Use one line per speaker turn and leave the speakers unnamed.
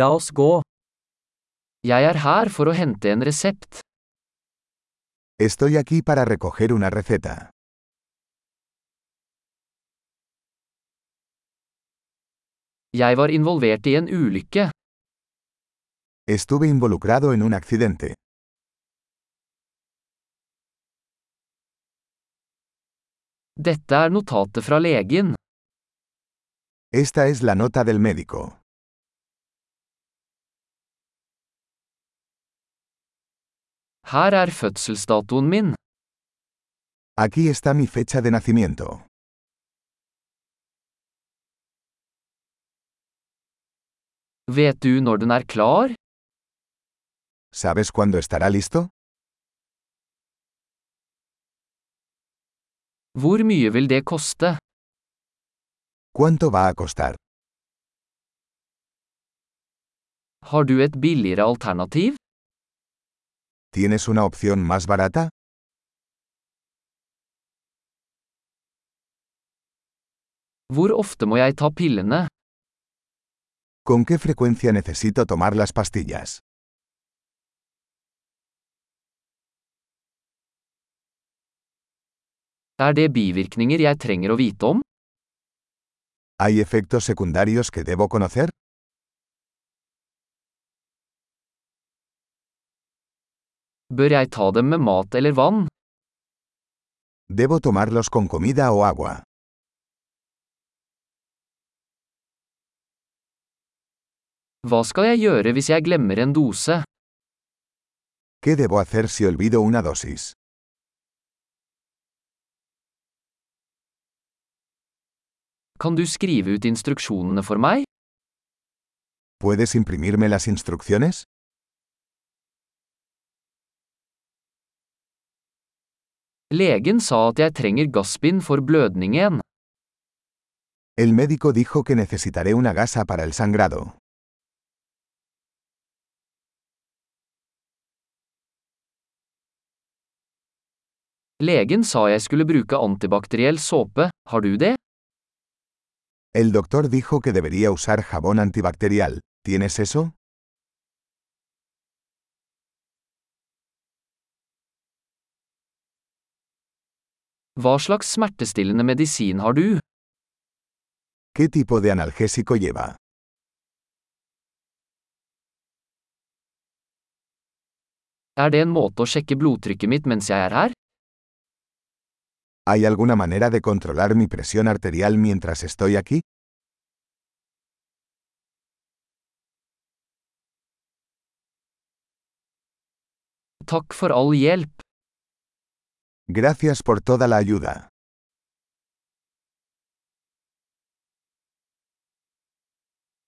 La oss gå. Jeg er her for å hente en resept.
Estoy aquí para recoger una receta.
Jeg var involvert i en ulykke.
Estuve involucrado en un accidente.
Dette er notatet fra legen.
Esta es la nota del médico.
Her er fødselsdatoen min.
Aquí está mi fecha de nacimiento.
Vet du når den er klar?
¿Sabes cuándo estará listo?
Hvor mye vil det koste?
¿Cuánto va a costar?
Har du et billigere alternativ?
¿Tienes una opción más barata?
Hvor ofte må jeg ta pillene?
¿Con qué frecuencia necesito tomar las pastillas?
Er det bivirkninger jeg trenger å vite om?
¿Hay efectos secundarios que debo conocer?
Bør jeg ta dem med mat eller vann?
¿Debo tomarlos con comida o agua?
Hva skal jeg gjøre hvis jeg glemmer en dose?
¿Qué debo hacer si olvido una dosis?
Kan du skrive ut instruksjonene for meg?
¿Puedes imprimirme las instrucciones?
Legen sa at jeg trenger gassbind for blødningen.
El médico dijo que necesitaré una gasa para el sangrado.
Legen sa jeg skulle bruke antibakteriell såpe, har du det?
El doctor dijo que debería usar jabón antibacterial. ¿Tienes eso?
Hva slags smertestillende medisin har du?
¿Qué tipo de analgésico lleva?
Er det en måte å sjekke blodtrykket mitt mens jeg er her?
¿Hay alguna manera de controlar mi presión arterial mientras estoy aquí?
Takk for all hjelp.
Gracias por toda la ayuda.